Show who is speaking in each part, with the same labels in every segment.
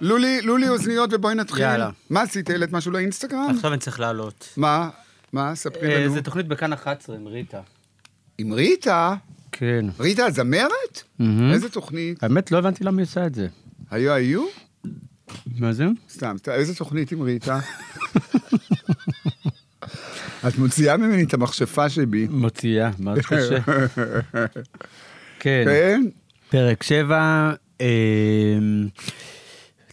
Speaker 1: לולי, לולי אוזניות ובואי נתחיל.
Speaker 2: יאללה.
Speaker 1: מה עשית? העלית משהו לאינסטגרם?
Speaker 2: עכשיו אני צריך לעלות.
Speaker 1: מה? מה? ספרי
Speaker 2: אה,
Speaker 1: לנו.
Speaker 2: זה תוכנית בכאן 11 עם ריטה.
Speaker 1: עם ריטה?
Speaker 2: כן.
Speaker 1: ריטה הזמרת?
Speaker 2: מהמם.
Speaker 1: איזה תוכנית?
Speaker 2: האמת, לא הבנתי למה היא עושה את זה.
Speaker 1: היו היו?
Speaker 2: מה זה?
Speaker 1: סתם, ת- איזה תוכנית עם ריטה? את מוציאה ממני את המכשפה שבי.
Speaker 2: מוציאה, מאוד קשה. כן.
Speaker 1: כן?
Speaker 2: פרק 7,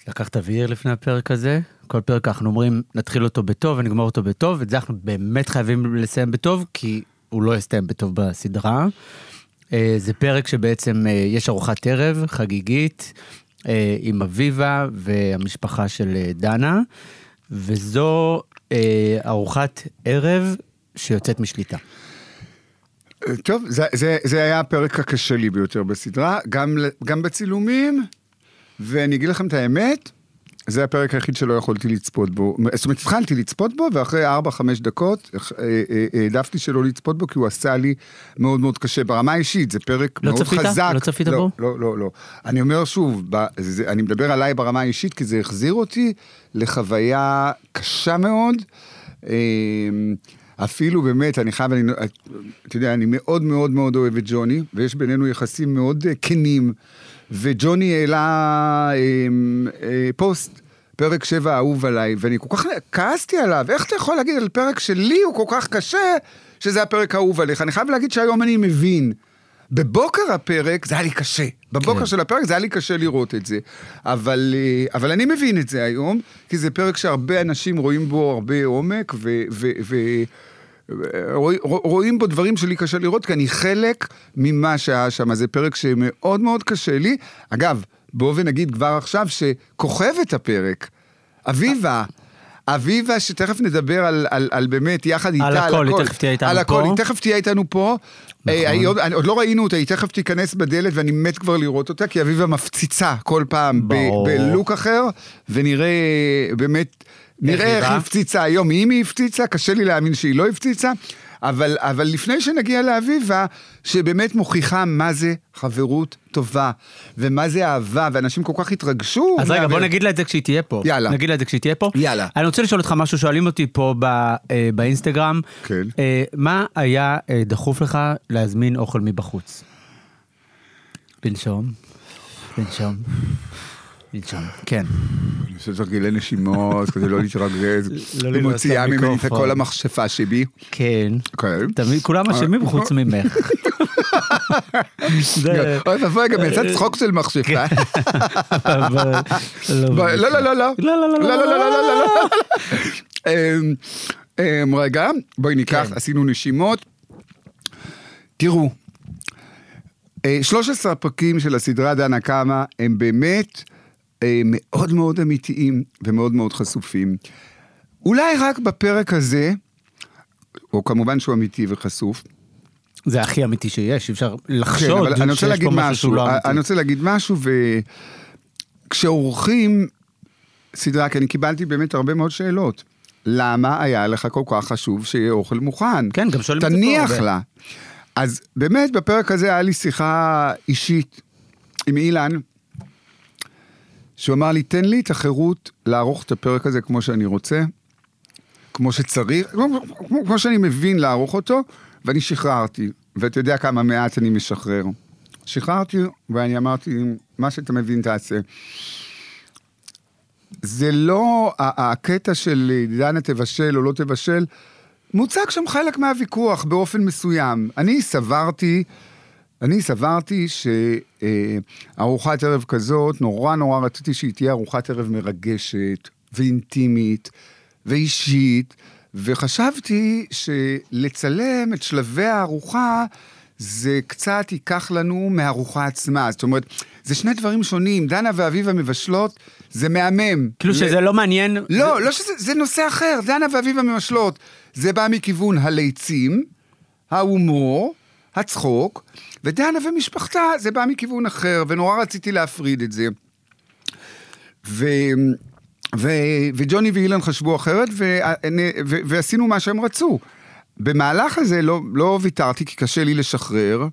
Speaker 2: לקחת אוויר לפני הפרק הזה. כל פרק אנחנו אומרים, נתחיל אותו בטוב ונגמור אותו בטוב, את זה אנחנו באמת חייבים לסיים בטוב, כי הוא לא יסתיים בטוב בסדרה. אה, זה פרק שבעצם אה, יש ארוחת ערב חגיגית אה, עם אביבה והמשפחה של אה, דנה, וזו אה, ארוחת ערב שיוצאת משליטה.
Speaker 1: טוב, זה, זה, זה היה הפרק הקשה לי ביותר בסדרה, גם, ל- גם בצילומים, ואני אגיד לכם את האמת, זה הפרק היחיד שלא יכולתי לצפות בו. זאת אומרת, התחלתי לצפות בו, ואחרי 4-5 דקות אה, אה, אה, העדפתי שלא לצפות בו, כי הוא עשה לי מאוד מאוד קשה. ברמה האישית, זה פרק
Speaker 2: לא
Speaker 1: מאוד
Speaker 2: צפית?
Speaker 1: חזק.
Speaker 2: לא צפית
Speaker 1: לא,
Speaker 2: בו?
Speaker 1: לא, לא, לא. אני אומר שוב, ב, זה, אני מדבר עליי ברמה האישית, כי זה החזיר אותי לחוויה קשה מאוד. אה, אפילו באמת, אני חייב, אני, אתה יודע, אני מאוד מאוד מאוד אוהב את ג'וני, ויש בינינו יחסים מאוד אה, כנים. וג'וני העלה אה, אה, פוסט, פרק 7 אהוב עליי, ואני כל כך כעסתי עליו, איך אתה יכול להגיד על פרק שלי הוא כל כך קשה, שזה הפרק האהוב עליך? אני חייב להגיד שהיום אני מבין. בבוקר הפרק זה היה לי קשה. בבוקר
Speaker 2: כן.
Speaker 1: של הפרק זה היה לי קשה לראות את זה. אבל, אה, אבל אני מבין את זה היום, כי זה פרק שהרבה אנשים רואים בו הרבה עומק, ו... ו, ו רואי- רוא- רואים בו דברים שלי קשה לראות, כי אני חלק ממה שהיה שם. זה פרק שמאוד מאוד קשה לי. אגב, בואו ונגיד כבר עכשיו שכוכבת הפרק, אביבה, אביבה, שתכף נדבר על, על, על באמת, יחד איתה,
Speaker 2: הכל, היא תכף תהיה איתנו
Speaker 1: על הכל,
Speaker 2: פה.
Speaker 1: היא תכף תהיה איתנו פה. אה,
Speaker 2: נכון.
Speaker 1: היא עוד, אני- עוד לא ראינו אותה, היא תכף תיכנס בדלת ואני מת כבר לראות אותה, כי אביבה מפציצה כל פעם ב-
Speaker 2: ברור.
Speaker 1: בלוק אחר, ונראה באמת, נראה
Speaker 2: היא
Speaker 1: איך
Speaker 2: באה?
Speaker 1: היא הפציצה היום, אם היא הפציצה, קשה לי להאמין שהיא לא הפציצה, אבל, אבל לפני שנגיע לאביבה, שבאמת מוכיחה מה זה חברות טובה, ומה זה אהבה, ואנשים כל כך התרגשו.
Speaker 2: אז רגע,
Speaker 1: מה-
Speaker 2: בוא נגיד לה את זה כשהיא תהיה פה.
Speaker 1: יאללה.
Speaker 2: נגיד לה את זה כשהיא תהיה פה.
Speaker 1: יאללה.
Speaker 2: אני רוצה לשאול אותך משהו, שואלים אותי פה ב, אה, באינסטגרם.
Speaker 1: כן.
Speaker 2: אה, מה היה אה, דחוף לך להזמין אוכל מבחוץ? לנשום. לנשום. לנשום. כן.
Speaker 1: אני עושה תרגילי נשימות, כדי לא להתרגז.
Speaker 2: לא
Speaker 1: היא
Speaker 2: לראות את
Speaker 1: מוציאה ממני את
Speaker 2: המיקרופון.
Speaker 1: כל המכשפה שבי.
Speaker 2: כן.
Speaker 1: כן.
Speaker 2: תמיד כולם אשמים חוץ
Speaker 1: אה.
Speaker 2: ממך. זה-
Speaker 1: אוי ואבוי, גם יצא צחוק של מכשפה.
Speaker 2: אבל-
Speaker 1: בוא, לא, לא, לא, לא.
Speaker 2: לא, לא,
Speaker 1: לא,
Speaker 2: לא,
Speaker 1: לא, לא, לא, לא, לא. אמ, אמ, רגע, בואי ניקח,
Speaker 2: כן.
Speaker 1: עשינו נשימות. תראו, אה, 13 הפרקים של הסדרה דנה קמה הם באמת אה, מאוד מאוד אמיתיים ומאוד מאוד חשופים. אולי רק בפרק הזה, או כמובן שהוא אמיתי וחשוף,
Speaker 2: זה הכי אמיתי שיש, אי אפשר
Speaker 1: כן,
Speaker 2: לחשוד
Speaker 1: אבל אני רוצה
Speaker 2: שיש
Speaker 1: להגיד
Speaker 2: פה משהו
Speaker 1: משהו, אה,
Speaker 2: שהוא לא
Speaker 1: אני
Speaker 2: אמיתי.
Speaker 1: רוצה להגיד משהו, וכשעורכים סדרה, כי אני קיבלתי באמת הרבה מאוד שאלות. למה היה לך כל כך חשוב שיהיה אוכל מוכן?
Speaker 2: כן, גם שואלים את זה פה
Speaker 1: תניח
Speaker 2: הרבה.
Speaker 1: לה. אז באמת, בפרק הזה היה לי שיחה אישית עם אילן, שהוא אמר לי, תן לי את החירות לערוך את הפרק הזה כמו שאני רוצה, כמו שצריך, כמו, כמו, כמו שאני מבין לערוך אותו, ואני שחררתי. ואתה יודע כמה מעט אני משחרר. שחררתי, ואני אמרתי, מה שאתה מבין תעשה. זה לא ה- הקטע של דנה תבשל או לא תבשל, מוצג שם חלק מהוויכוח באופן מסוים. אני סברתי, אני סברתי שארוחת ערב כזאת, נורא נורא רציתי שהיא תהיה ארוחת ערב מרגשת ואינטימית ואישית, וחשבתי שלצלם את שלבי הארוחה זה קצת ייקח לנו מהארוחה עצמה. זאת אומרת, זה שני דברים שונים, דנה ואביבה מבשלות, זה מהמם.
Speaker 2: כאילו שזה לא מעניין.
Speaker 1: לא, לא שזה, זה נושא אחר, דנה ואביבה מבשלות. זה בא מכיוון הליצים, ההומור, הצחוק, ודנה ומשפחתה, זה בא מכיוון אחר, ונורא רציתי להפריד את זה. ו... ו... וג'וני ואילן חשבו אחרת, ו... ו... ועשינו מה שהם רצו. במהלך הזה לא, לא ויתרתי, כי קשה לי לשחרר,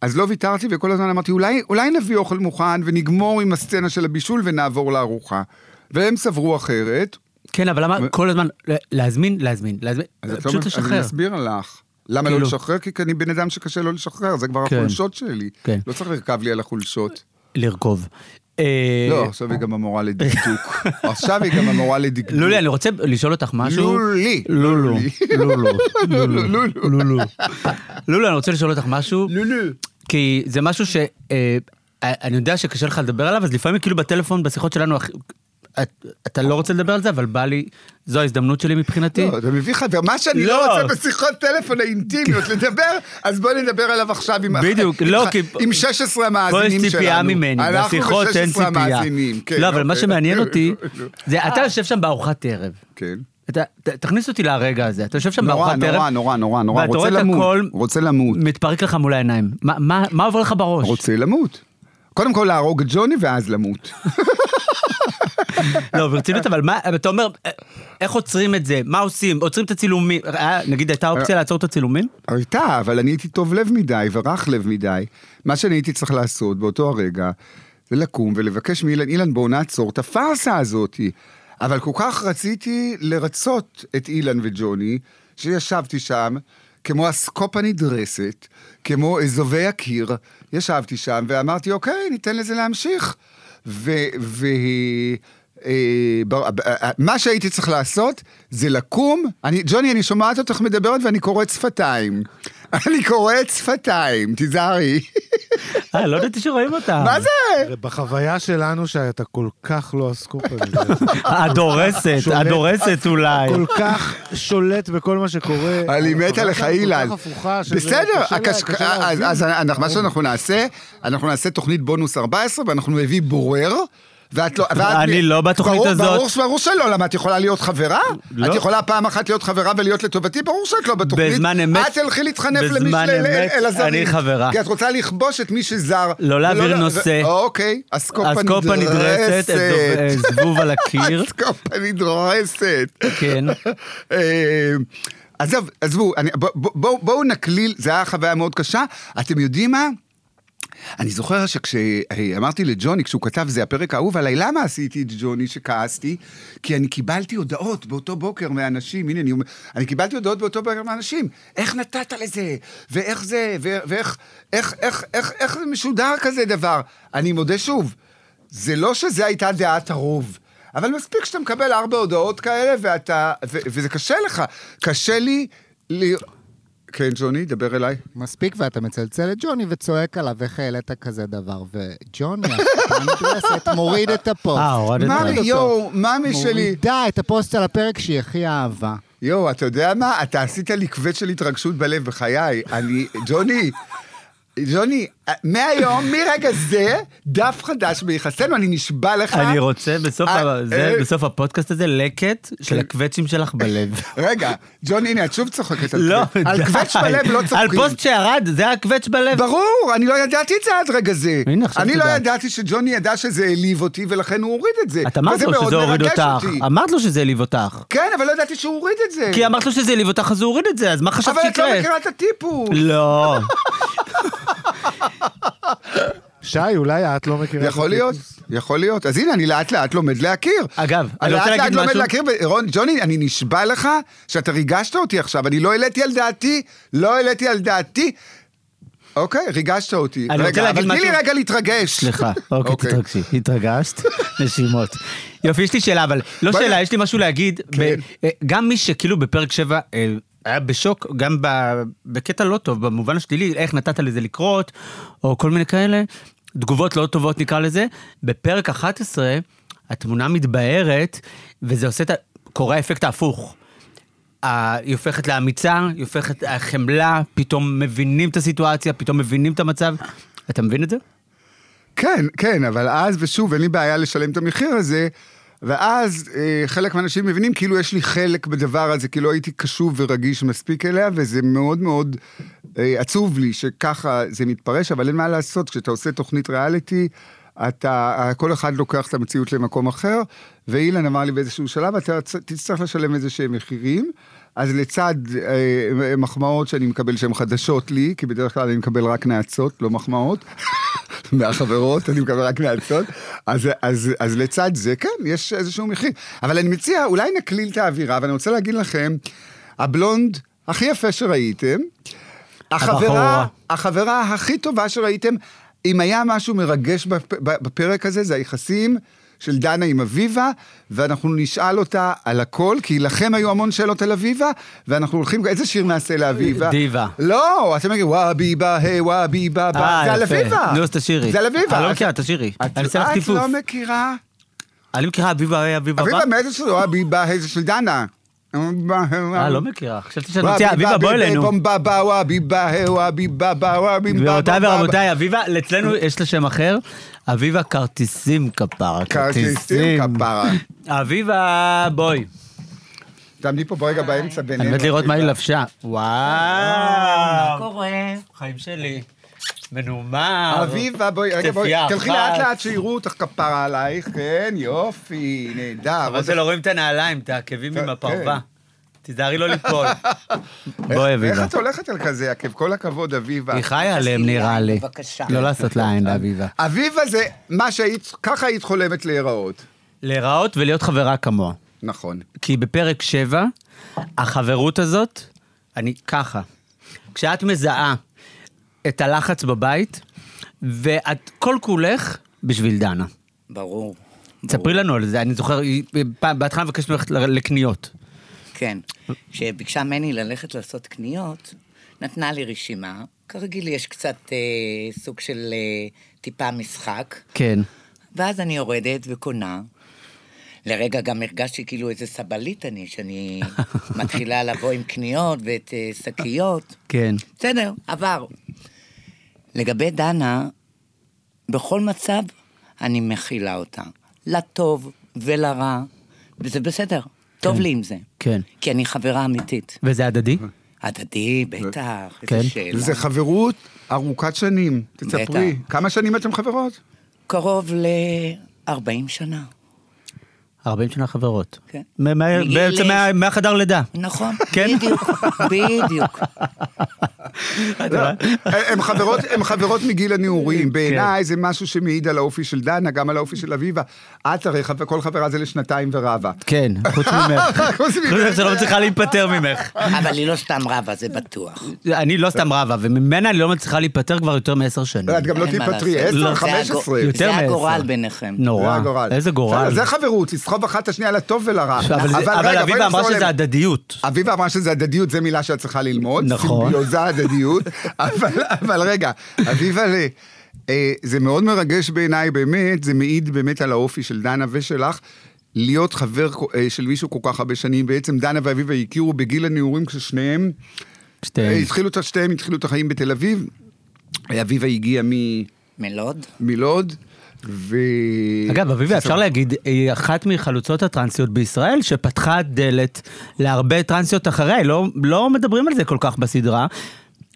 Speaker 1: אז לא ויתרתי, וכל הזמן אמרתי, אולי, אולי נביא אוכל מוכן, ונגמור עם הסצנה של הבישול ונעבור לארוחה. והם סברו אחרת,
Speaker 2: כן, אבל למה כל הזמן ל- להזמין, להזמין, להזמין,
Speaker 1: אז את לא
Speaker 2: פשוט
Speaker 1: מש- אני
Speaker 2: לשחרר.
Speaker 1: אסביר לך. למה לא
Speaker 2: כאילו.
Speaker 1: לשחרר? כי אני בן אדם שקשה לא לשחרר, זה כבר
Speaker 2: כן.
Speaker 1: החולשות שלי.
Speaker 2: כן.
Speaker 1: לא צריך לרכב לי על החולשות.
Speaker 2: לרכוב. אה,
Speaker 1: לא, עכשיו היא גם המורה לדקדוק. עכשיו היא גם המורה לדקדוק.
Speaker 2: לולי, אני רוצה לשאול אותך משהו.
Speaker 1: לא. לולי. לא,
Speaker 2: לולו. לולו.
Speaker 1: לולו,
Speaker 2: לולו.
Speaker 1: לולו.
Speaker 2: לולו. לולו, אני רוצה לשאול אותך משהו,
Speaker 1: לולו.
Speaker 2: כי זה משהו ש... אה, אני יודע שקשה לך לדבר עליו, אז לפעמים כאילו בטלפון, בשיחות שלנו, אח- את- אתה לא רוצה לדבר על זה, אבל בא לי, זו ההזדמנות שלי מבחינתי.
Speaker 1: לא, אתה מביך, ומה שאני לא
Speaker 2: לא.
Speaker 1: רוצה בשיחות טלפון האינטימיות לדבר, אז בוא נדבר עליו עכשיו עם...
Speaker 2: בדיוק,
Speaker 1: עם-
Speaker 2: לא,
Speaker 1: עם-
Speaker 2: כי-
Speaker 1: עם 16
Speaker 2: פה
Speaker 1: המאזינים
Speaker 2: יש
Speaker 1: שלנו.
Speaker 2: ציפייה ממני,
Speaker 1: אנחנו
Speaker 2: בשיחות אין
Speaker 1: ו-16
Speaker 2: ציפייה.
Speaker 1: המאזינים, כן,
Speaker 2: לא, אבל מה
Speaker 1: אוקיי.
Speaker 2: שמעניין אותי, זה אתה יושב שם בארוחת ערב.
Speaker 1: כן.
Speaker 2: אתה- ת- תכניס אותי לרגע הזה, אתה יושב שם
Speaker 1: נורא,
Speaker 2: בארוחת ערב.
Speaker 1: נורא, נורא, נורא, נורא.
Speaker 2: ואתה
Speaker 1: רוצה
Speaker 2: רואה את
Speaker 1: למות,
Speaker 2: הכל
Speaker 1: רוצה למות.
Speaker 2: מתפרק לך מול העיניים. מה- מה מה עובר לך בראש?
Speaker 1: רוצה למות. קודם כל להרוג את ג'וני ואז למות.
Speaker 2: לא, ברצינות, אבל מה, אתה אומר, אה, איך עוצרים את זה? מה עושים? עוצרים את הצילומים. אה, נגיד, הייתה אופציה לעצור את הצילומים?
Speaker 1: הייתה, אבל אני הייתי טוב לב מדי ורך לב מדי. מה שאני הייתי צריך לעשות באותו הרגע, זה לקום ולבקש מאילן, אילן בוא נעצור את הפארסה הזאתי. אבל כל כך רציתי לרצות את אילן וג'וני, שישבתי שם, כמו הסקופ הנדרסת, כמו אזובי הקיר, ישבתי שם ואמרתי, אוקיי, ניתן לזה להמשיך. ו... ו... אה, בר- אה, אה, מה שהייתי צריך לעשות זה לקום, אני, ג'וני, אני שומעת אותך מדברת ואני קוראת שפתיים. אני קוראת שפתיים, תיזהרי.
Speaker 2: אה, לא ידעתי שרואים אותם.
Speaker 1: מה זה?
Speaker 3: בחוויה שלנו שאתה כל כך לא הסקופ הזה,
Speaker 2: הדורסת,
Speaker 3: שולט.
Speaker 2: הדורסת אולי.
Speaker 3: כל כך שולט בכל מה שקורה.
Speaker 1: אני מת
Speaker 3: החוויה
Speaker 1: עליך,
Speaker 3: שלנו כל כך
Speaker 1: אילן.
Speaker 3: הפוכה, שזה
Speaker 1: בסדר,
Speaker 3: קשה לה-
Speaker 1: הקש-
Speaker 3: קשה
Speaker 1: אז
Speaker 3: להבין.
Speaker 1: אז אנחנו- מה שאנחנו נעשה, אנחנו נעשה תוכנית בונוס 14 ואנחנו נביא בורר. ואת לא, ואת-
Speaker 2: אני לא בתוכנית
Speaker 1: ברור-
Speaker 2: הזאת.
Speaker 1: ברור שברור שלא, למה את יכולה להיות חברה?
Speaker 2: לא.
Speaker 1: את יכולה פעם אחת להיות חברה ולהיות לטובתי? ברור שאת לא בתוכנית.
Speaker 2: בזמן אמת-
Speaker 1: את תלכי להתחנף
Speaker 2: בזמן
Speaker 1: למישהו, אל- אל-
Speaker 2: אמת
Speaker 1: אל הזרים.
Speaker 2: אני חברה.
Speaker 1: כי את רוצה לכבוש את מי שזר.
Speaker 2: לא להעביר
Speaker 1: ולא-
Speaker 2: נושא.
Speaker 1: ו- אוקיי,
Speaker 2: הסקופה
Speaker 1: אסקופה
Speaker 2: נדרסת, הזוב- אה,
Speaker 1: נדרסת.
Speaker 2: זבוב על הקיר.
Speaker 1: הסקופה נדרסת.
Speaker 2: כן.
Speaker 1: אה, עזוב, עזבו, אני- בוא- בוא- בואו בואו נקליל, זו הייתה חוויה מאוד קשה. אתם יודעים מה? אני זוכר שכשאמרתי לג'וני, כשהוא כתב, זה הפרק האהוב עליי, למה עשיתי את ג'וני שכעסתי? כי אני קיבלתי הודעות באותו בוקר מאנשים, הנה אני אומר, אני קיבלתי הודעות באותו בוקר מאנשים, איך נתת לזה, ואיך זה, ו- ואיך, איך, איך, איך, איך זה משודר כזה דבר. אני מודה שוב, זה לא שזה הייתה דעת הרוב. אבל מספיק שאתה מקבל ארבע הודעות כאלה, ואתה, ו- וזה קשה לך. קשה לי ל... כן, ג'וני, דבר אליי.
Speaker 4: מספיק, ואתה מצלצל את ג'וני וצועק עליו, איך העלית כזה דבר? וג'וני, השטן מפלסת, מוריד את הפוסט.
Speaker 2: אה, הורדת.
Speaker 1: מאמי,
Speaker 4: אותו.
Speaker 1: יואו, מאמי שלי.
Speaker 4: מורידה את הפוסט על הפרק שהיא הכי אהבה.
Speaker 1: יואו, אתה יודע מה? אתה עשית לי כבד של התרגשות בלב, בחיי. אני, ג'וני, ג'וני, מהיום, מרגע זה, דף חדש ביחסינו, אני נשבע לך.
Speaker 2: אני רוצה בסוף
Speaker 1: אה,
Speaker 2: ה- זה-
Speaker 1: אה. כן.
Speaker 2: בסוף הפודקאסט הזה לקט של הקווצ'ים שלך בלב.
Speaker 1: רגע, ג'וני, הנה, את שוב צוחקת על
Speaker 2: לא,
Speaker 1: כבד. על
Speaker 2: די.
Speaker 1: כבד בלב לא
Speaker 2: על
Speaker 1: צוחקים.
Speaker 2: פוסט שירד, זה היה קווץ' בלב.
Speaker 1: ברור, אני לא ידעתי את זה עד רגע זה.
Speaker 2: הנה, עכשיו
Speaker 1: אני
Speaker 2: את
Speaker 1: לא
Speaker 2: יודעת.
Speaker 1: ידעתי שג'וני ידע שזה העליב אותי, ולכן הוא הוריד את זה.
Speaker 2: את אמרת
Speaker 1: וזה
Speaker 2: לו
Speaker 1: מאוד
Speaker 2: שזה הוריד
Speaker 1: מרגש
Speaker 2: אותך.
Speaker 1: אותי.
Speaker 2: אמרת לו שזה העליב אותך.
Speaker 1: כן, אבל לא ידעתי שהוא הוריד את זה.
Speaker 2: כי אמרת לו שזה העליב אותך, אז הוא הוריד את זה, אז מה חשבת
Speaker 1: אבל את
Speaker 2: שיקרה?
Speaker 1: לא מכירה את הטיפוס.
Speaker 2: לא.
Speaker 3: שי, אולי את לא מכירה. את
Speaker 1: יכול להיות,
Speaker 3: הטיפוס.
Speaker 1: יכול להיות. אז הנה, אני לאט לאט לומד להכיר.
Speaker 2: אגב,
Speaker 1: אני
Speaker 2: אני
Speaker 1: לאט
Speaker 2: רוצה
Speaker 1: לאט
Speaker 2: להגיד
Speaker 1: לומד
Speaker 2: משהו.
Speaker 1: להכיר, ורון, ג'וני, אני נשבע לך שאתה ריגשת אותי עכשיו, אני לא העליתי על דעתי, לא העליתי על דעתי. אוקיי, ריגשת אותי.
Speaker 2: אני רוצה
Speaker 1: רגע,
Speaker 2: להגיד
Speaker 1: אבל תני לי
Speaker 2: משהו.
Speaker 1: רגע להתרגש.
Speaker 2: סליחה, אוקיי, תתרגשי. התרגשת? נשימות. יופי, יש לי שאלה, אבל לא
Speaker 1: בואי
Speaker 2: שאלה,
Speaker 1: נ-
Speaker 2: יש לי משהו להגיד. ב-
Speaker 1: כן.
Speaker 2: אה, גם מי שכאילו בפרק 7 היה בשוק, גם ב- בקטע לא טוב, במובן השלילי, איך נתת לזה לקרות, או כל מיני כאלה, תגובות לא טובות נקרא לזה. בפרק 11 התמונה מתבהרת, וזה עושה את ה... קורה האפקט ההפוך. ה- היא הופכת לאמיצה, היא הופכת לחמלה, פתאום מבינים את הסיטואציה, פתאום מבינים את המצב. אתה מבין את זה?
Speaker 1: כן, כן, אבל אז, ושוב, אין לי בעיה לשלם את המחיר הזה, ואז אה, חלק מהאנשים מבינים כאילו יש לי חלק בדבר הזה, כי לא הייתי קשוב ורגיש מספיק אליה, וזה מאוד מאוד אה, עצוב לי שככה זה מתפרש, אבל אין מה לעשות, כשאתה עושה תוכנית ריאליטי, אתה, כל אחד לוקח את המציאות למקום אחר, ואילן אמר לי באיזשהו שלב, אתה צ- תצטרך לשלם איזה שהם מחירים. אז לצד אה, מחמאות שאני מקבל שהן חדשות לי, כי בדרך כלל אני מקבל רק נאצות, לא מחמאות, מהחברות, אני מקבל רק נאצות, אז, אז, אז לצד זה, כן, יש איזשהו מחיר. אבל אני מציע, אולי נקליל את האווירה, ואני רוצה להגיד לכם, הבלונד הכי יפה שראיתם, החברה,
Speaker 2: הבחורה.
Speaker 1: החברה הכי טובה שראיתם, אם היה משהו מרגש בפ- בפרק הזה, זה היחסים של דנה עם אביבה, ואנחנו נשאל אותה על הכל, כי לכם היו המון שאלות על אביבה, ואנחנו הולכים, איזה שיר נעשה לאביבה?
Speaker 2: דיבה.
Speaker 1: לא, אתם אומרים, וואה ביבה, היי וואה ביבה,
Speaker 2: אה,
Speaker 1: ב-" זה על
Speaker 2: יפה.
Speaker 1: אביבה.
Speaker 2: נו, אז תשאירי.
Speaker 1: זה על אביבה.
Speaker 2: אני לא
Speaker 1: אז-
Speaker 2: מכירה, תשאירי.
Speaker 1: את-
Speaker 2: אני אעשה לך
Speaker 1: את לא
Speaker 2: טיפוף.
Speaker 1: מכירה?
Speaker 2: אני מכירה אביבה, היי, אביבה,
Speaker 1: אביבה
Speaker 2: בא?
Speaker 1: מאיזה שלו, וואה ביבה, היי זה של דנה.
Speaker 2: אה, לא מכירה. חשבתי שאת מוציאה אביבה, בוא אלינו.
Speaker 1: אה,
Speaker 2: גבירותיי ורבותיי, אביבה, אצלנו יש לה שם אחר. אביבה כרטיסים כפרה.
Speaker 1: כרטיסים כפרה.
Speaker 2: אביבה, בואי.
Speaker 1: תעמדי פה ברגע באמצע בינינו.
Speaker 2: אני מת לראות מה היא לבשה.
Speaker 5: מה
Speaker 2: וואו.
Speaker 5: קורה?
Speaker 2: חיים שלי. מנומר.
Speaker 1: אביבה, בואי, רגע, בואי,
Speaker 2: צפייה
Speaker 1: תלכי
Speaker 2: אחת.
Speaker 1: לאט לאט שיראו אותך כפרה עלייך, כן, יופי, נהדר.
Speaker 2: אבל לא- שלא רואים את הנעליים, את העקבים
Speaker 1: כן,
Speaker 2: עם הפרווה. תיזהרי לא ליפול.
Speaker 1: איך
Speaker 2: בואי, אביבה.
Speaker 1: את הולכת על כזה עקב? כל הכבוד, אביבה.
Speaker 2: היא חיה עליהם,
Speaker 5: תעשי
Speaker 2: נראה
Speaker 5: לי,
Speaker 2: לי.
Speaker 5: בבקשה.
Speaker 2: לא לעשות לה עין לאביבה.
Speaker 1: אביבה זה מה שהיית, ככה היית חולמת להיראות.
Speaker 2: להיראות ולהיות חברה כמוה.
Speaker 1: נכון.
Speaker 2: כי בפרק 7, החברות הזאת, אני ככה. כשאת מזהה את הלחץ בבית, ואת כל כולך בשביל דנה.
Speaker 5: ברור.
Speaker 2: תספרי לנו על זה, אני זוכר, היא- פעם- בהתחלה מבקשת ממך ל- לקניות.
Speaker 5: כן. כשביקשה ממני ללכת לעשות קניות, נתנה לי רשימה. כרגיל יש קצת אה, סוג של אה, טיפה משחק.
Speaker 2: כן.
Speaker 5: ואז אני יורדת וקונה. לרגע גם הרגשתי כאילו איזה סבלית אני, שאני מתחילה לבוא עם קניות ואת אה, שקיות.
Speaker 2: כן.
Speaker 5: בסדר, עבר. לגבי דנה, בכל מצב אני מכילה אותה. לטוב ולרע, וזה בסדר. טוב לי עם זה.
Speaker 2: כן.
Speaker 5: כי אני חברה אמיתית.
Speaker 2: וזה הדדי?
Speaker 5: הדדי, בטח,
Speaker 2: כן.
Speaker 5: איזה שאלה.
Speaker 1: זה חברות ארוכת שנים, תספרי.
Speaker 5: בטח.
Speaker 1: כמה שנים אתם חברות?
Speaker 5: קרוב ל-40 שנה.
Speaker 2: 40 שנה חברות.
Speaker 5: כן.
Speaker 2: מ- מה-
Speaker 5: מגיל
Speaker 2: בעצם
Speaker 5: ל-
Speaker 2: מה- מהחדר לידה.
Speaker 5: נכון,
Speaker 2: כן?
Speaker 5: בדיוק, בדיוק.
Speaker 1: הן לא, חברות, הן חברות מגיל
Speaker 2: כן.
Speaker 1: הנעורים, בעיניי זה משהו שמעיד על האופי של דנה, גם על האופי של אביבה. את הרי חבר- כל חברה זה לשנתיים ורבע.
Speaker 2: כן, חוץ ממך.
Speaker 1: חוץ
Speaker 2: חוץ
Speaker 1: ממך.
Speaker 2: ממך שלא מצליחה להיפטר ממך.
Speaker 5: אבל היא לא סתם רבה, זה בטוח.
Speaker 2: אני לא סתם רבה, וממנה אני לא מצליחה להיפטר כבר יותר מעשר שנים.
Speaker 1: את גם לא
Speaker 5: אין מה
Speaker 1: תיפטרי,
Speaker 5: לעשות.
Speaker 1: 10,
Speaker 5: לא, זה
Speaker 1: 15.
Speaker 5: הגו-
Speaker 2: יותר
Speaker 5: זה הגורל
Speaker 2: מעשר.
Speaker 5: ביניכם.
Speaker 1: זה
Speaker 2: נורא.
Speaker 1: הגורל.
Speaker 2: איזה גורל.
Speaker 1: בסדר, זה חברות, לסחוב אחת את השנייה לטוב ולרע.
Speaker 2: אבל זה- אבל
Speaker 1: רגע, בואי
Speaker 2: אביבה אמרה
Speaker 1: נחזור
Speaker 2: שזה
Speaker 1: אליהם. אה,
Speaker 2: הדדיות.
Speaker 1: אביבה אמרה שזה הדדיות, זו מילה שאת צריכה ללמוד.
Speaker 2: נכון.
Speaker 1: סימביוזה הדדיות. אבל, אבל רגע, אביבה, ל- אה, זה מאוד מרגש בעיניי, באמת, זה מעיד באמת על האופי של דנה ושלך. להיות חבר אה, של מישהו כל כך הרבה שנים, בעצם דנה ואביבה הכירו בגיל הנעורים כששניהם אה,
Speaker 2: שתיהן.
Speaker 1: התחילו את שתיהם התחילו את החיים בתל אביב. אה, אביבה הגיעה מ-
Speaker 5: מלוד?
Speaker 1: מלוד, ו...
Speaker 2: אגב, אביבה, אפשר להגיד, היא אחת מחלוצות הטרנסיות בישראל, שפתחה דלת להרבה טרנסיות אחריה, לא- לא מדברים על זה כל כך בסדרה,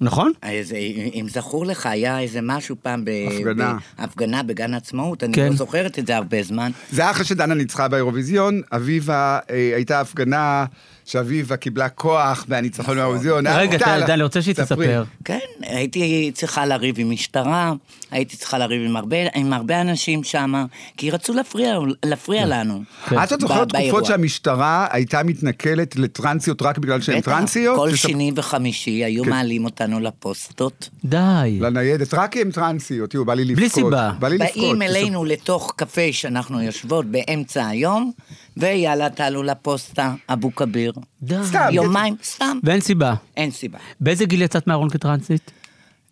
Speaker 2: נכון?
Speaker 5: איזה, אם זכור לך, היה איזה משהו פעם ב...
Speaker 1: הפגנה.
Speaker 5: בהפגנה בגן העצמאות, אני
Speaker 2: כן.
Speaker 5: לא זוכרת את זה הרבה זמן.
Speaker 1: זה היה אחרי שדנה ניצחה באירוויזיון, אביבה, אה, הייתה הפגנה שאביבה קיבלה כוח מהניצחון באירוויזיון. היה
Speaker 2: רגע,
Speaker 1: מובטל.
Speaker 2: דן, אני רוצה שהיא
Speaker 1: ספרי.
Speaker 2: תספר.
Speaker 5: כן, הייתי צריכה לריב עם משטרה, הייתי צריכה לריב עם הרבה, עם הרבה אנשים שם, כי רצו להפריע, להפריע לנו.
Speaker 1: אה, את עוד זוכרת
Speaker 5: ב- באירוע.
Speaker 1: תקופות שהמשטרה הייתה מתנכלת לטרנסיות רק בגלל שהן
Speaker 5: בטח,
Speaker 1: טרנסיות? כן.
Speaker 5: כל
Speaker 1: תספ-
Speaker 5: שני וחמישי היו מעלים אותנו לפוסטות.
Speaker 2: די.
Speaker 1: לא, לניידת, רק כי הן טרנסיות, תראו, בא לי לבכות.
Speaker 2: בלי סיבה.
Speaker 1: בא לי לבכות.
Speaker 5: באים
Speaker 1: תספר.
Speaker 5: אלינו לתוך קפה שאנחנו יושבות באמצע היום, ויאללה, תעלו לפוסטה, אבו כביר.
Speaker 2: די.
Speaker 1: סתם.
Speaker 5: יומיים, סתם,
Speaker 2: ואין סיבה.
Speaker 5: אין סיבה.
Speaker 2: באיזה גיל יצאת מהארון כטרנסית?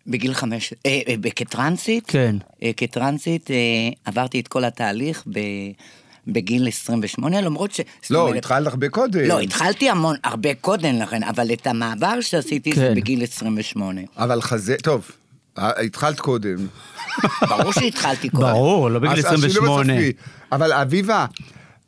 Speaker 5: בגיל חמש, אה, אה, ב- כטרנסית,
Speaker 2: כן.
Speaker 5: אה, כטרנסית אה, עברתי את כל התהליך ב, בגיל 28, למרות ש... זאת
Speaker 1: לא,
Speaker 5: אומרת-
Speaker 1: התחלת הרבה קודם.
Speaker 5: לא, התחלתי המון, הרבה קודם לכן, אבל את המעבר שעשיתי זה
Speaker 2: כן.
Speaker 5: בגיל 28.
Speaker 1: אבל חזה, טוב, אה, התחלת קודם.
Speaker 5: ברור שהתחלתי קודם.
Speaker 2: ברור, לא בגיל
Speaker 1: אז השילוב
Speaker 2: 28.
Speaker 1: הסופי. אבל אביבה,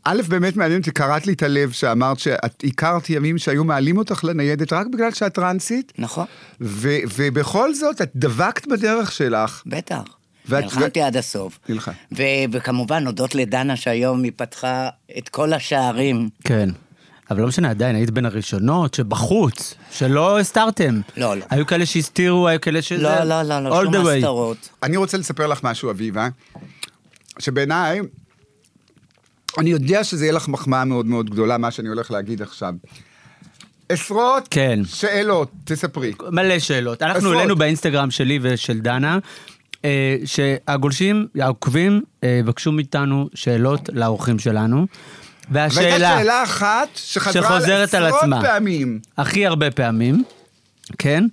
Speaker 1: א', באמת מעניין אותי, קראת לי את הלב שאמרת שאת הכרת ימים שהיו מעלים אותך לניידת רק בגלל שאת טרנסית,
Speaker 5: נכון,
Speaker 1: ו- ובכל זאת את דבקת בדרך שלך.
Speaker 5: בטח.
Speaker 1: ואת-
Speaker 5: נלחמתי עד הסוף.
Speaker 1: נלחם.
Speaker 5: ו- וכמובן, הודות לדנה שהיום היא פתחה את כל השערים.
Speaker 2: כן. אבל לא משנה, עדיין, היית בין הראשונות שבחוץ, שלא הסתרתם.
Speaker 5: לא, לא.
Speaker 2: היו כאלה שהסתירו, היו כאלה שזה...
Speaker 5: לא, לא, לא, לא,
Speaker 2: all the
Speaker 5: שום
Speaker 2: way.
Speaker 5: הסתרות.
Speaker 1: אני רוצה לספר לך משהו, אביבה, שבעיניי, אני יודע שזה יהיה לך מחמאה מאוד מאוד גדולה, מה שאני הולך להגיד עכשיו. עשרות
Speaker 2: כן.
Speaker 1: שאלות, תספרי.
Speaker 2: מלא שאלות. אנחנו
Speaker 1: עשרות.
Speaker 2: העלינו באינסטגרם שלי ושל דנה, אה, שהגולשים, העוקבים, אה, יבקשו מאיתנו שאלות לאורחים שלנו.
Speaker 1: והייתה
Speaker 2: והשאלה
Speaker 1: שאלה אחת שחזרה
Speaker 2: שחוזרת על
Speaker 1: עשרות
Speaker 2: עצמה,
Speaker 1: פעמים.
Speaker 2: הכי הרבה פעמים, כן?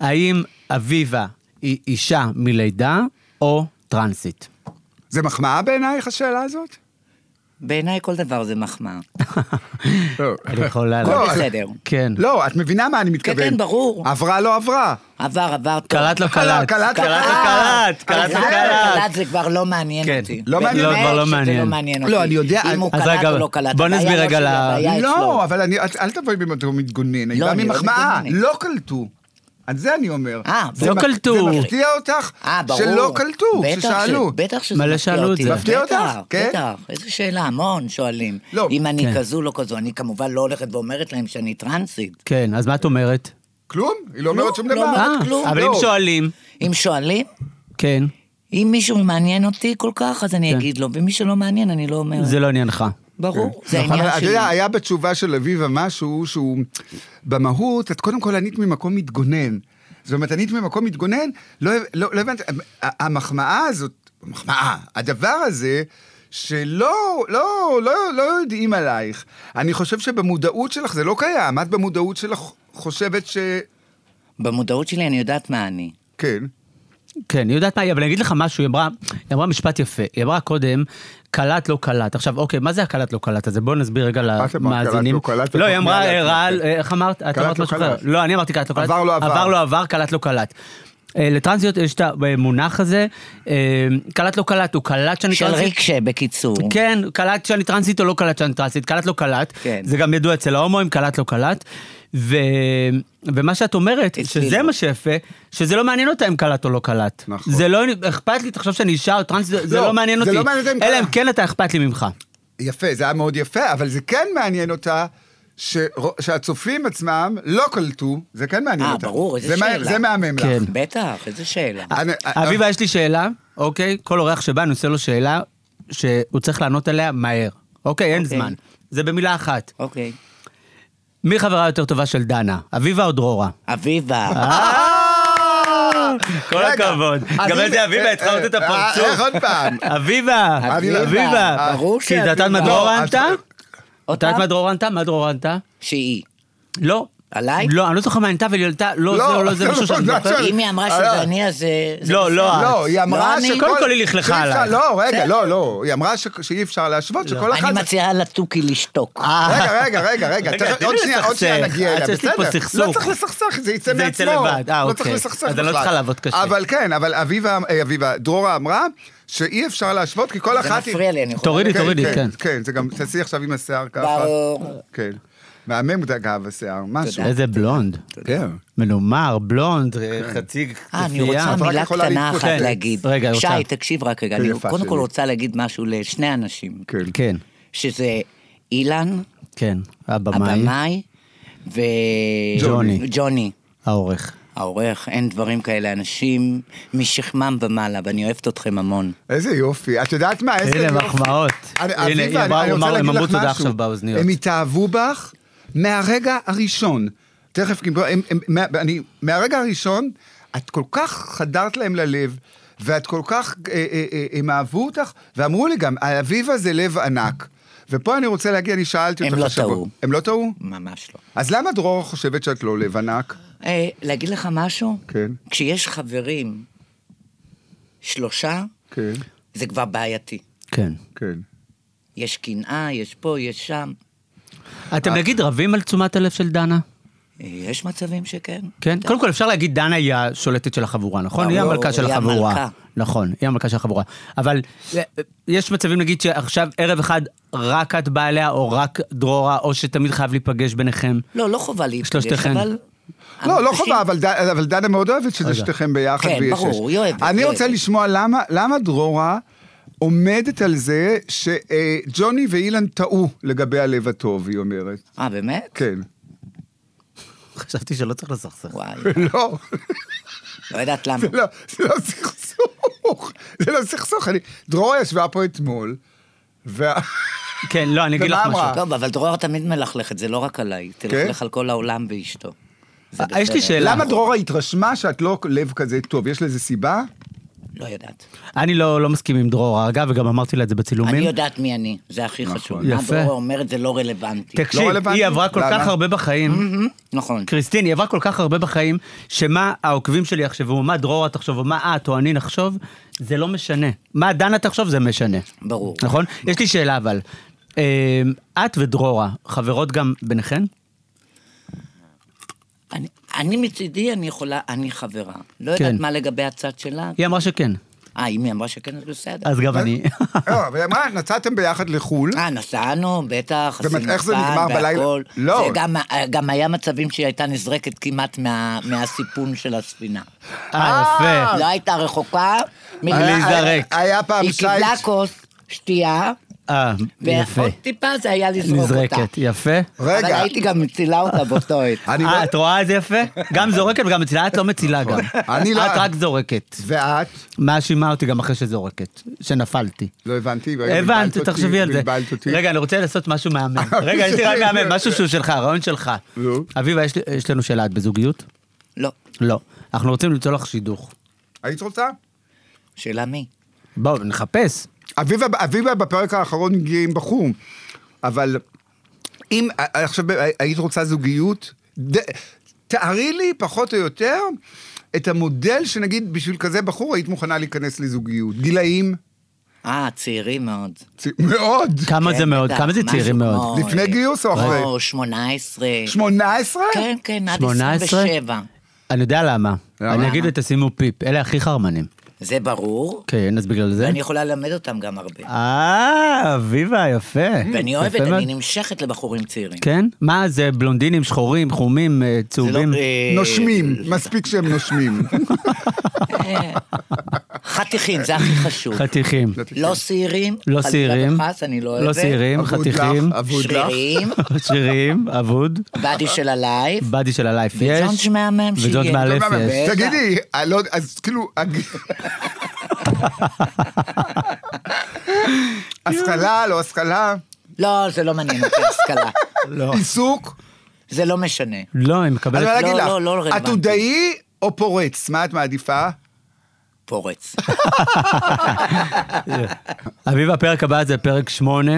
Speaker 2: האם אביבה היא אישה מלידה או טרנסית?
Speaker 1: זה מחמאה בעינייך, השאלה הזאת?
Speaker 5: בעיניי כל דבר זה מחמאה.
Speaker 1: לא.
Speaker 2: אני יכולה...
Speaker 1: לא,
Speaker 2: לה-
Speaker 5: בסדר.
Speaker 2: כן.
Speaker 1: לא, את מבינה מה אני מתכוון.
Speaker 5: כן, ברור.
Speaker 1: עברה, לא עברה.
Speaker 5: עבר, עבר טוב.
Speaker 2: קלט לא
Speaker 1: לא,
Speaker 2: קלט.
Speaker 5: אה,
Speaker 1: קלט לא
Speaker 2: קלט לא קלט. קלט לא
Speaker 5: עבר,
Speaker 2: קלט.
Speaker 5: קלט אה, זה כבר לא מעניין
Speaker 2: כן.
Speaker 5: אותי.
Speaker 1: לא מעניין.
Speaker 5: באמת
Speaker 1: לא,
Speaker 2: כבר לא
Speaker 5: שזה
Speaker 2: מעניין.
Speaker 5: לא מעניין אותי.
Speaker 1: לא, אני יודע,
Speaker 5: אם הוא
Speaker 2: אז
Speaker 5: קלט
Speaker 2: רגע,
Speaker 5: או לא קלט.
Speaker 2: בוא נסביר
Speaker 5: הבעיה
Speaker 2: רגע
Speaker 5: לא שלי,
Speaker 2: ל-
Speaker 5: הבעיה אצלו.
Speaker 1: לא, אבל אני- את- אל תבואי במטרות מתגונן, אני
Speaker 5: לא,
Speaker 1: בא
Speaker 5: אני לא
Speaker 1: ממחמאה,
Speaker 5: מתגוננת.
Speaker 1: לא קלטו. על זה אני אומר.
Speaker 5: אה,
Speaker 1: זה
Speaker 2: לא
Speaker 1: מפ-
Speaker 2: קלטו.
Speaker 1: זה מפתיע אותך
Speaker 5: אה, ברור.
Speaker 1: שלא קלטו,
Speaker 5: בטח
Speaker 1: ששאלו.
Speaker 5: ש- בטח שזה
Speaker 2: מלא
Speaker 5: מפתיע
Speaker 2: שאלו את
Speaker 5: אותי.
Speaker 2: זה.
Speaker 1: מפתיע
Speaker 5: בטח,
Speaker 1: אותך, כן?
Speaker 5: בטח, איזו שאלה, המון שואלים.
Speaker 1: לא,
Speaker 5: אם אני
Speaker 2: כן.
Speaker 5: כזו, לא כזו. אני כמובן לא הולכת ואומרת להם שאני טרנסית.
Speaker 2: כן, אז מה את אומרת?
Speaker 1: כלום? היא לא אומרת שום
Speaker 5: לא
Speaker 1: דבר.
Speaker 5: אומרת
Speaker 2: אה,
Speaker 5: כלום.
Speaker 2: אבל אם
Speaker 1: לא.
Speaker 2: שואלים,
Speaker 5: אם שואלים,
Speaker 2: כן,
Speaker 5: אם מישהו מעניין אותי כל כך, אז אני אגיד לו, ומי שלא מעניין, אני לא אומרת.
Speaker 2: זה לא עניינך.
Speaker 5: ברור, זה
Speaker 1: נכון, אבל
Speaker 5: העניין
Speaker 1: כן. אתה
Speaker 5: שלי.
Speaker 1: יודע, אה- היה בתשובה של אביבה משהו שהוא, במהות, את קודם כל ענית ממקום מתגונן. זאת אומרת, ענית ממקום מתגונן, לא לא- לא הבנתי, ה- המחמאה הזאת, מחמאה, הדבר הזה, שלא, לא, לא, לא יודעים עלייך. אני חושב שבמודעות שלך זה לא קיים, את במודעות שלך חושבת ש...
Speaker 5: במודעות שלי אני יודעת מה אני.
Speaker 1: כן.
Speaker 2: כן, היא יודעת מה, היא- אבל אני אגיד לך משהו, היא אמרה, היא אמרה משפט יפה, היא אמרה קודם, קלט לא קלט. עכשיו, אוקיי, מה זה הקלט לא קלט הזה? בואו נסביר רגע
Speaker 1: את אמרת,
Speaker 2: למאזינים.
Speaker 1: קלט לא קלט,
Speaker 2: לא, היא
Speaker 1: את
Speaker 2: אמרה,
Speaker 1: מחמיאה
Speaker 2: אה,
Speaker 1: לעצמך.
Speaker 2: רעל, אה, איך אמרת? את
Speaker 1: קלט
Speaker 2: אמרת
Speaker 1: לא
Speaker 2: משהו
Speaker 1: קלט.
Speaker 2: אחר. לא, אני אמרתי קלט לא קלט.
Speaker 1: עבר לא עבר.
Speaker 2: עבר לא עבר, קלט לא קלט. אה, לטרנסיות יש את המונח הזה, אה, קלט לא קלט, הוא קלט שאני
Speaker 5: של
Speaker 2: טרנסית.
Speaker 5: ריקשה, בקיצור.
Speaker 2: כן, קלט שאני טרנסית או לא קלט שאני טרנסית, קלט לא קלט.
Speaker 5: כן.
Speaker 2: זה גם ידוע אצל ההומואים, קלט לא קלט. ו... ומה שאת אומרת,
Speaker 5: אצלי
Speaker 2: שזה
Speaker 5: לא.
Speaker 2: מה שיפה, שזה לא מעניין אותה אם קלט או לא קלט.
Speaker 1: נכון.
Speaker 2: זה לא אכפת לי, תחשוב שאני אישה או טרנסית, זה
Speaker 1: לא,
Speaker 2: לא מעניין
Speaker 1: זה
Speaker 2: אותי.
Speaker 1: לא מעניין אותה אם
Speaker 2: אלא אם
Speaker 1: קלט.
Speaker 2: כן אתה אכפת לי ממך.
Speaker 1: יפה, זה היה מאוד יפה, אבל זה כן מעניין אותה. ש... שהצופים עצמם לא קלטו, זה כן מעניין
Speaker 5: אה,
Speaker 1: אותה.
Speaker 5: ברור, איזה
Speaker 1: זה מה-
Speaker 5: שאלה.
Speaker 1: זה מהמם לך. אה.
Speaker 2: כן.
Speaker 5: בטח, איזה שאלה.
Speaker 1: אני-
Speaker 2: אביבה, יש לי שאלה, אוקיי? כל אורח שבא, אני עושה לו שאלה שהוא צריך לענות עליה מהר. אוקיי, אין
Speaker 5: אוקיי.
Speaker 2: זמן. זה במילה אחת.
Speaker 5: אוקיי.
Speaker 2: מי חברה יותר טובה של דנה? אביבה או דרורה?
Speaker 5: אביבה,
Speaker 2: אה, כל
Speaker 1: אה! רגע,
Speaker 2: הכבוד.
Speaker 1: אז
Speaker 2: גם
Speaker 1: אם-
Speaker 2: איזה אביבה,
Speaker 1: אה,
Speaker 2: התחלת את
Speaker 1: אה,
Speaker 2: הפרצוף.
Speaker 1: איך עוד פעם?
Speaker 2: אביבה,
Speaker 5: אביבה,
Speaker 2: אביבה.
Speaker 5: ברור
Speaker 2: כי את יודעת מה
Speaker 5: שאביבה.
Speaker 2: דרור
Speaker 1: לא,
Speaker 2: ענתה?
Speaker 1: אז-
Speaker 2: את יודעת
Speaker 5: אותה?
Speaker 2: מה דרור ענתה? מה דרור ענתה?
Speaker 5: שהיא.
Speaker 2: לא.
Speaker 5: עליי?
Speaker 2: לא, אני לא זוכר מה ענתה, אבל היא ענתה, לא זה או לא זה,
Speaker 1: לא,
Speaker 2: משהו שאני
Speaker 1: לא,
Speaker 2: זוכר.
Speaker 1: לא,
Speaker 5: אם היא אמרה שזה
Speaker 1: אה,
Speaker 5: אני, אז זה... זה
Speaker 2: לא, לא,
Speaker 5: בסדר.
Speaker 1: לא, היא אמרה
Speaker 5: אני-
Speaker 1: שכל...
Speaker 2: קודם כל היא לכלכה
Speaker 1: שאי אפשר-
Speaker 2: עלייך.
Speaker 1: לא, רגע, לא, לא. היא אמרה ש- שאי אפשר להשוות, שכל אחד...
Speaker 5: אני מציעה לתוכי לשתוק.
Speaker 1: אה, רגע, רגע, רגע, רגע,
Speaker 2: רגע,
Speaker 1: תכף-
Speaker 2: תני
Speaker 1: עוד
Speaker 2: לי
Speaker 1: שנייה, עוד שנייה
Speaker 2: לסכסך.
Speaker 1: נגיע
Speaker 2: עד
Speaker 1: אליה,
Speaker 2: שיש לי
Speaker 1: בסדר.
Speaker 2: פה
Speaker 1: לא
Speaker 2: סכסוך.
Speaker 1: צריך לסכסך, זה יצא
Speaker 2: זה
Speaker 1: מעצמו.
Speaker 2: יצא לבד, אה,
Speaker 1: לא
Speaker 2: אוקיי.
Speaker 1: צריך לסכסך
Speaker 2: אז אני לא
Speaker 1: בכלל.
Speaker 2: צריכה לעבוד קשה.
Speaker 1: אבל כן, אבל אביבה, אה, אביבה, דרורה אמרה שאי אפשר להשוות, כי כל
Speaker 5: זה
Speaker 1: אחת... היא-
Speaker 5: מפריע לי, אני יכולה...
Speaker 2: תורידי.
Speaker 1: כן,
Speaker 2: תורידי, כן.
Speaker 1: כן, זה גם, תעשי עכשיו עם השיער ככה.
Speaker 5: ברור.
Speaker 1: כן. מהמם אגב השיער, משהו.
Speaker 2: איזה בלונד.
Speaker 1: כן.
Speaker 2: מנומר, בלונד, חצי
Speaker 5: אה, אני
Speaker 2: כפייה.
Speaker 5: רוצה
Speaker 1: את רק
Speaker 5: מילה
Speaker 1: יכולה
Speaker 5: קטנה
Speaker 1: להתפוצץ.
Speaker 5: אחת להגיד.
Speaker 2: כן. רגע, אני
Speaker 5: שי,
Speaker 2: רוצה.
Speaker 5: תקשיב רק רגע,
Speaker 1: כן,
Speaker 5: אני
Speaker 1: יפה
Speaker 5: קודם כל
Speaker 1: שלי.
Speaker 5: רוצה להגיד משהו לשני אנשים.
Speaker 1: כן.
Speaker 2: כן,
Speaker 5: שזה אילן,
Speaker 2: כן, הבמאי,
Speaker 5: הבמאי,
Speaker 2: ג'וני.
Speaker 5: וג'וני. ג'וני.
Speaker 2: העורך.
Speaker 5: העורך, אין דברים כאלה, אנשים משכמם ומעלה, ואני אוהבת אתכם המון.
Speaker 1: איזה יופי. את יודעת מה, איזה
Speaker 2: הנה
Speaker 1: יופי.
Speaker 2: מחמאות.
Speaker 1: אני-
Speaker 2: הנה,
Speaker 1: אביבה,
Speaker 2: היא
Speaker 1: אני-
Speaker 2: אמרה-
Speaker 1: אני רוצה
Speaker 2: הוא אמר- הם
Speaker 1: להגיד
Speaker 2: אמרו
Speaker 1: לך
Speaker 2: תודה
Speaker 1: משהו.
Speaker 2: עכשיו באוזניות.
Speaker 1: הם התאהבו בך מהרגע הראשון. תכף, כי- הם- הם- מה- אני, מהרגע הראשון, את כל כך חדרת להם ללב, ואת כל כך, אה, אה, אה, הם אהבו אותך, ואמרו לי גם, אביבה זה לב ענק. ופה אני רוצה להגיד, אני שאלתי
Speaker 5: הם
Speaker 1: אותך
Speaker 5: לא
Speaker 1: השבוע.
Speaker 5: טעו.
Speaker 1: הם לא טעו?
Speaker 5: ממש לא.
Speaker 1: אז למה דרור חושבת שאת לא לב ענק?
Speaker 5: אה, להגיד לך משהו?
Speaker 1: כן.
Speaker 5: כשיש חברים, שלושה,
Speaker 1: כן,
Speaker 5: זה כבר בעייתי.
Speaker 2: כן.
Speaker 1: כן.
Speaker 5: יש קנאה, יש פה, יש שם.
Speaker 2: אתם נגיד רבים על תשומת הלב של דנה?
Speaker 5: אה, יש מצבים שכן.
Speaker 2: כן? קודם כל אפשר להגיד דנה היא השולטת של החבורה, נכון? היא
Speaker 5: ברור,
Speaker 2: המלכה של
Speaker 5: היא
Speaker 2: החבורה.
Speaker 5: המלכה.
Speaker 2: נכון, היא המלכה של החבורה. אבל אה, אה, יש מצבים נגיד שעכשיו ערב אחד רק את באה אליה, או רק דרורה, או שתמיד חייב להיפגש ביניכם.
Speaker 5: לא, לא חובה להיפגש,
Speaker 2: שלושתכן.
Speaker 5: אבל...
Speaker 1: לא, לא
Speaker 5: המפגשים-
Speaker 1: חובה, אבל, ד, אבל דנה מאוד אוהבת שזה שתיכם ביחד.
Speaker 5: כן,
Speaker 1: ויש-
Speaker 5: ברור, היא אוהבת,
Speaker 1: אני
Speaker 5: היא
Speaker 1: רוצה
Speaker 5: אוהבת.
Speaker 1: לשמוע למה, למה דרורה עומדת על זה שג'וני ואילן טעו לגבי הלב הטוב, היא אומרת.
Speaker 5: אה, באמת?
Speaker 1: כן.
Speaker 2: חשבתי שלא צריך לסכסך.
Speaker 5: וואי,
Speaker 1: לא,
Speaker 5: לא יודעת למה.
Speaker 1: זה לא, זה לא סכסוך. זה לא סכסוך. אני- דרור ישבה פה אתמול, וה...
Speaker 2: כן, לא, אני אגיד לך
Speaker 1: ומה
Speaker 2: משהו.
Speaker 1: אמרה?
Speaker 5: טוב, אבל דרור תמיד מלכלכת, זה לא רק עליי.
Speaker 1: כן?
Speaker 5: תלכלך על כל העולם באשתו. זה
Speaker 2: אה, יש לי
Speaker 5: בסדר.
Speaker 2: שאלה.
Speaker 1: למה דרורה התרשמה שאת לא לב כזה טוב? יש לזה סיבה?
Speaker 5: לא יודעת.
Speaker 2: אני לא לא מסכים עם דרור, אגב, וגם אמרתי לה את זה בצילומים.
Speaker 5: אני יודעת מי אני, זה הכי
Speaker 1: נכון.
Speaker 5: חשוב. מה
Speaker 2: יפה. כן.
Speaker 5: דרור אומרת זה לא רלוונטי.
Speaker 2: תקשיב,
Speaker 1: רלוונטי?
Speaker 2: היא עברה כל
Speaker 1: למה?
Speaker 2: כך הרבה בחיים.
Speaker 5: נכון.
Speaker 2: קריסטין, היא עברה כל כך הרבה בחיים, שמה העוקבים שלי יחשבו, מה דרורה תחשוב, או מה את או אני נחשוב, זה לא משנה. מה דנה תחשוב, זה משנה.
Speaker 5: ברור.
Speaker 2: נכון? יש לי שאלה אבל. אה, את ודרורה, חברות גם ביניכן?
Speaker 5: אני- אני מצידי, אני יכולה, אני חברה. לא
Speaker 2: כן.
Speaker 5: יודעת מה לגבי הצד שלה.
Speaker 2: היא אמרה שכן.
Speaker 5: אה, אם היא אמרה שכן, אז בסדר.
Speaker 2: אז גם אני.
Speaker 1: לא, אבל היא אמרה, נסעתם ביחד לחו"ל?
Speaker 5: אה, נסענו, בטח,
Speaker 1: זאת אומרת,
Speaker 5: עשינו
Speaker 1: איך זה
Speaker 5: פאן
Speaker 1: נגמר בלילה?
Speaker 5: והכל.
Speaker 1: לא.
Speaker 5: זה גם- אה, גם היה מצבים שהיא הייתה נזרקת כמעט מה- מהסיפון של הספינה.
Speaker 2: אה, יפה.
Speaker 5: לא הייתה רחוקה. מ-
Speaker 2: להיזרק.
Speaker 1: היה פעם
Speaker 5: היא
Speaker 1: שייט-
Speaker 5: קיבלה כוס שתייה,
Speaker 2: אה, יפה.
Speaker 5: ועוד טיפה זה היה לזרוק אותה.
Speaker 2: נזרקת, יפה.
Speaker 5: אבל
Speaker 1: רגע,
Speaker 5: הייתי גם מצילה אותה באותו עת.
Speaker 1: אני
Speaker 2: אה,
Speaker 1: לא...
Speaker 2: את רואה איזה יפה? גם זורקת וגם מצילה, את לא מצילה גם.
Speaker 1: אני לא-
Speaker 2: את רק זורקת.
Speaker 1: ואת?
Speaker 2: מאשימה אותי גם אחרי שזורקת, שנפלתי.
Speaker 1: לא הבנתי. רגע, בלבלת
Speaker 2: הבנת,
Speaker 1: אותי,
Speaker 2: תחשבי על זה.
Speaker 1: בלבלת אותי.
Speaker 2: רגע, אני רוצה לעשות משהו מהמם. רגע, יש לי רק מהמם, משהו שהוא שלך, רעיון שלך.
Speaker 1: נו.
Speaker 2: אביבה, יש לי- יש לנו שאלה, את בזוגיות?
Speaker 5: לא,
Speaker 2: לא. אנחנו רוצים למצוא לך שידוך.
Speaker 1: היית רוצה?
Speaker 5: שאלה מי?
Speaker 2: בואו, נחפש.
Speaker 1: אביבה, אביבה בפרק האחרון הגיעה עם בחור, אבל אם אה, עכשיו היית רוצה זוגיות, ד, תארי לי פחות או יותר את המודל שנגיד בשביל כזה בחור היית מוכנה להיכנס לזוגיות. גילאים?
Speaker 5: אה, צעירים מאוד.
Speaker 1: צ- מאוד.
Speaker 2: כמה
Speaker 5: כן,
Speaker 2: אה, זה מאוד,
Speaker 5: בטח,
Speaker 2: כמה זה
Speaker 5: משהו
Speaker 2: צעירים מאוד.
Speaker 5: כמו- אה,
Speaker 1: לפני גיוס או אחרי?
Speaker 5: או 18.
Speaker 1: 18?
Speaker 5: כן, כן, עד
Speaker 2: 18?
Speaker 5: 27.
Speaker 2: אני יודע למה.
Speaker 1: למה?
Speaker 2: אני אגיד ותשימו פיפ, אלה הכי חרמנים.
Speaker 5: זה ברור,
Speaker 2: כן, אז בגלל זה?
Speaker 5: ואני יכולה ללמד אותם גם הרבה.
Speaker 2: אה, אביבה, יפה.
Speaker 5: ואני
Speaker 2: יפה
Speaker 5: אוהבת,
Speaker 2: מאוד.
Speaker 5: אני נמשכת לבחורים צעירים.
Speaker 2: כן? מה זה, בלונדינים, שחורים, חומים, אה,
Speaker 5: זה לא,
Speaker 2: צהובים?
Speaker 5: אה,
Speaker 1: נושמים, מספיק שהם נושמים.
Speaker 5: אה, חתיכים, זה הכי חשוב.
Speaker 2: חתיכים.
Speaker 5: לא שעירים.
Speaker 2: לא
Speaker 5: חלילה
Speaker 2: שעירים.
Speaker 5: וחס, אני לא אוהבת.
Speaker 2: לא שעירים,
Speaker 1: אבוד לך,
Speaker 2: חתיכים.
Speaker 1: אבוד לך.
Speaker 5: שרירים,
Speaker 2: שרירים, אבוד.
Speaker 5: באדי של הלייב.
Speaker 2: באדי של הלייף יש.
Speaker 5: וג'ונג' מהמם שיהיה.
Speaker 2: וג'ונג' מאלף
Speaker 5: ג'ונג' מהמם.
Speaker 2: יש.
Speaker 5: בטח.
Speaker 1: תגידי, אה, לא- אז כאילו... הג- השכלה, לא השכלה,
Speaker 5: לא, זה לא מעניין אותי, השכלה.
Speaker 2: לא.
Speaker 1: עיסוק.
Speaker 5: זה לא משנה.
Speaker 2: לא, היא
Speaker 1: אני
Speaker 2: מקבלת...
Speaker 1: לא אגיד
Speaker 5: לא,
Speaker 1: לך,
Speaker 5: לא, לא רלוונטי.
Speaker 1: עתודאי או פורץ? מה את מעדיפה?
Speaker 5: פורץ.
Speaker 2: אביב, הפרק הבא זה פרק שמונה.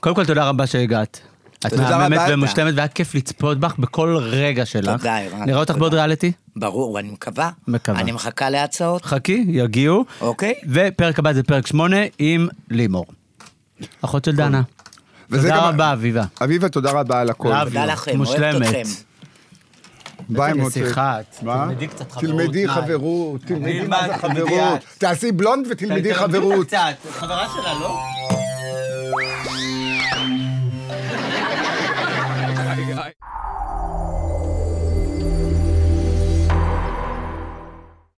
Speaker 2: קודם כל, תודה רבה שהגעת. את
Speaker 1: תודה
Speaker 2: מהממת
Speaker 1: רבה, אתה.
Speaker 2: ומושלמת, והיה כיף לצפות בך בכל רגע שלך.
Speaker 5: תודה, ערן.
Speaker 2: נראה אותך בעוד
Speaker 5: תודה.
Speaker 2: ריאליטי?
Speaker 5: ברור, אני מקווה.
Speaker 2: מקווה.
Speaker 5: אני מחכה להצעות.
Speaker 2: חכי, יגיעו.
Speaker 5: אוקיי.
Speaker 2: ופרק הבא זה פרק שמונה עם לימור. אחות של דנה.
Speaker 1: וזה גם-
Speaker 2: תודה רבה, אביבה.
Speaker 1: אביבה, תודה רבה על הכל.
Speaker 2: אהבתי.
Speaker 5: תודה לכם, אוהבת
Speaker 2: מושלמת.
Speaker 5: אתכם.
Speaker 1: ביי,
Speaker 2: איזה
Speaker 1: מותק.
Speaker 2: נסיכה,
Speaker 1: מה?
Speaker 2: תלמדי קצת חברות,
Speaker 1: תלמדי
Speaker 2: מה?
Speaker 1: חברות, תלמדי מה זה
Speaker 2: תלמד, תלמדי
Speaker 1: חברות.
Speaker 2: את.
Speaker 1: תעשי בלונד ותלמדי חברות.
Speaker 2: חברה שלה, לא?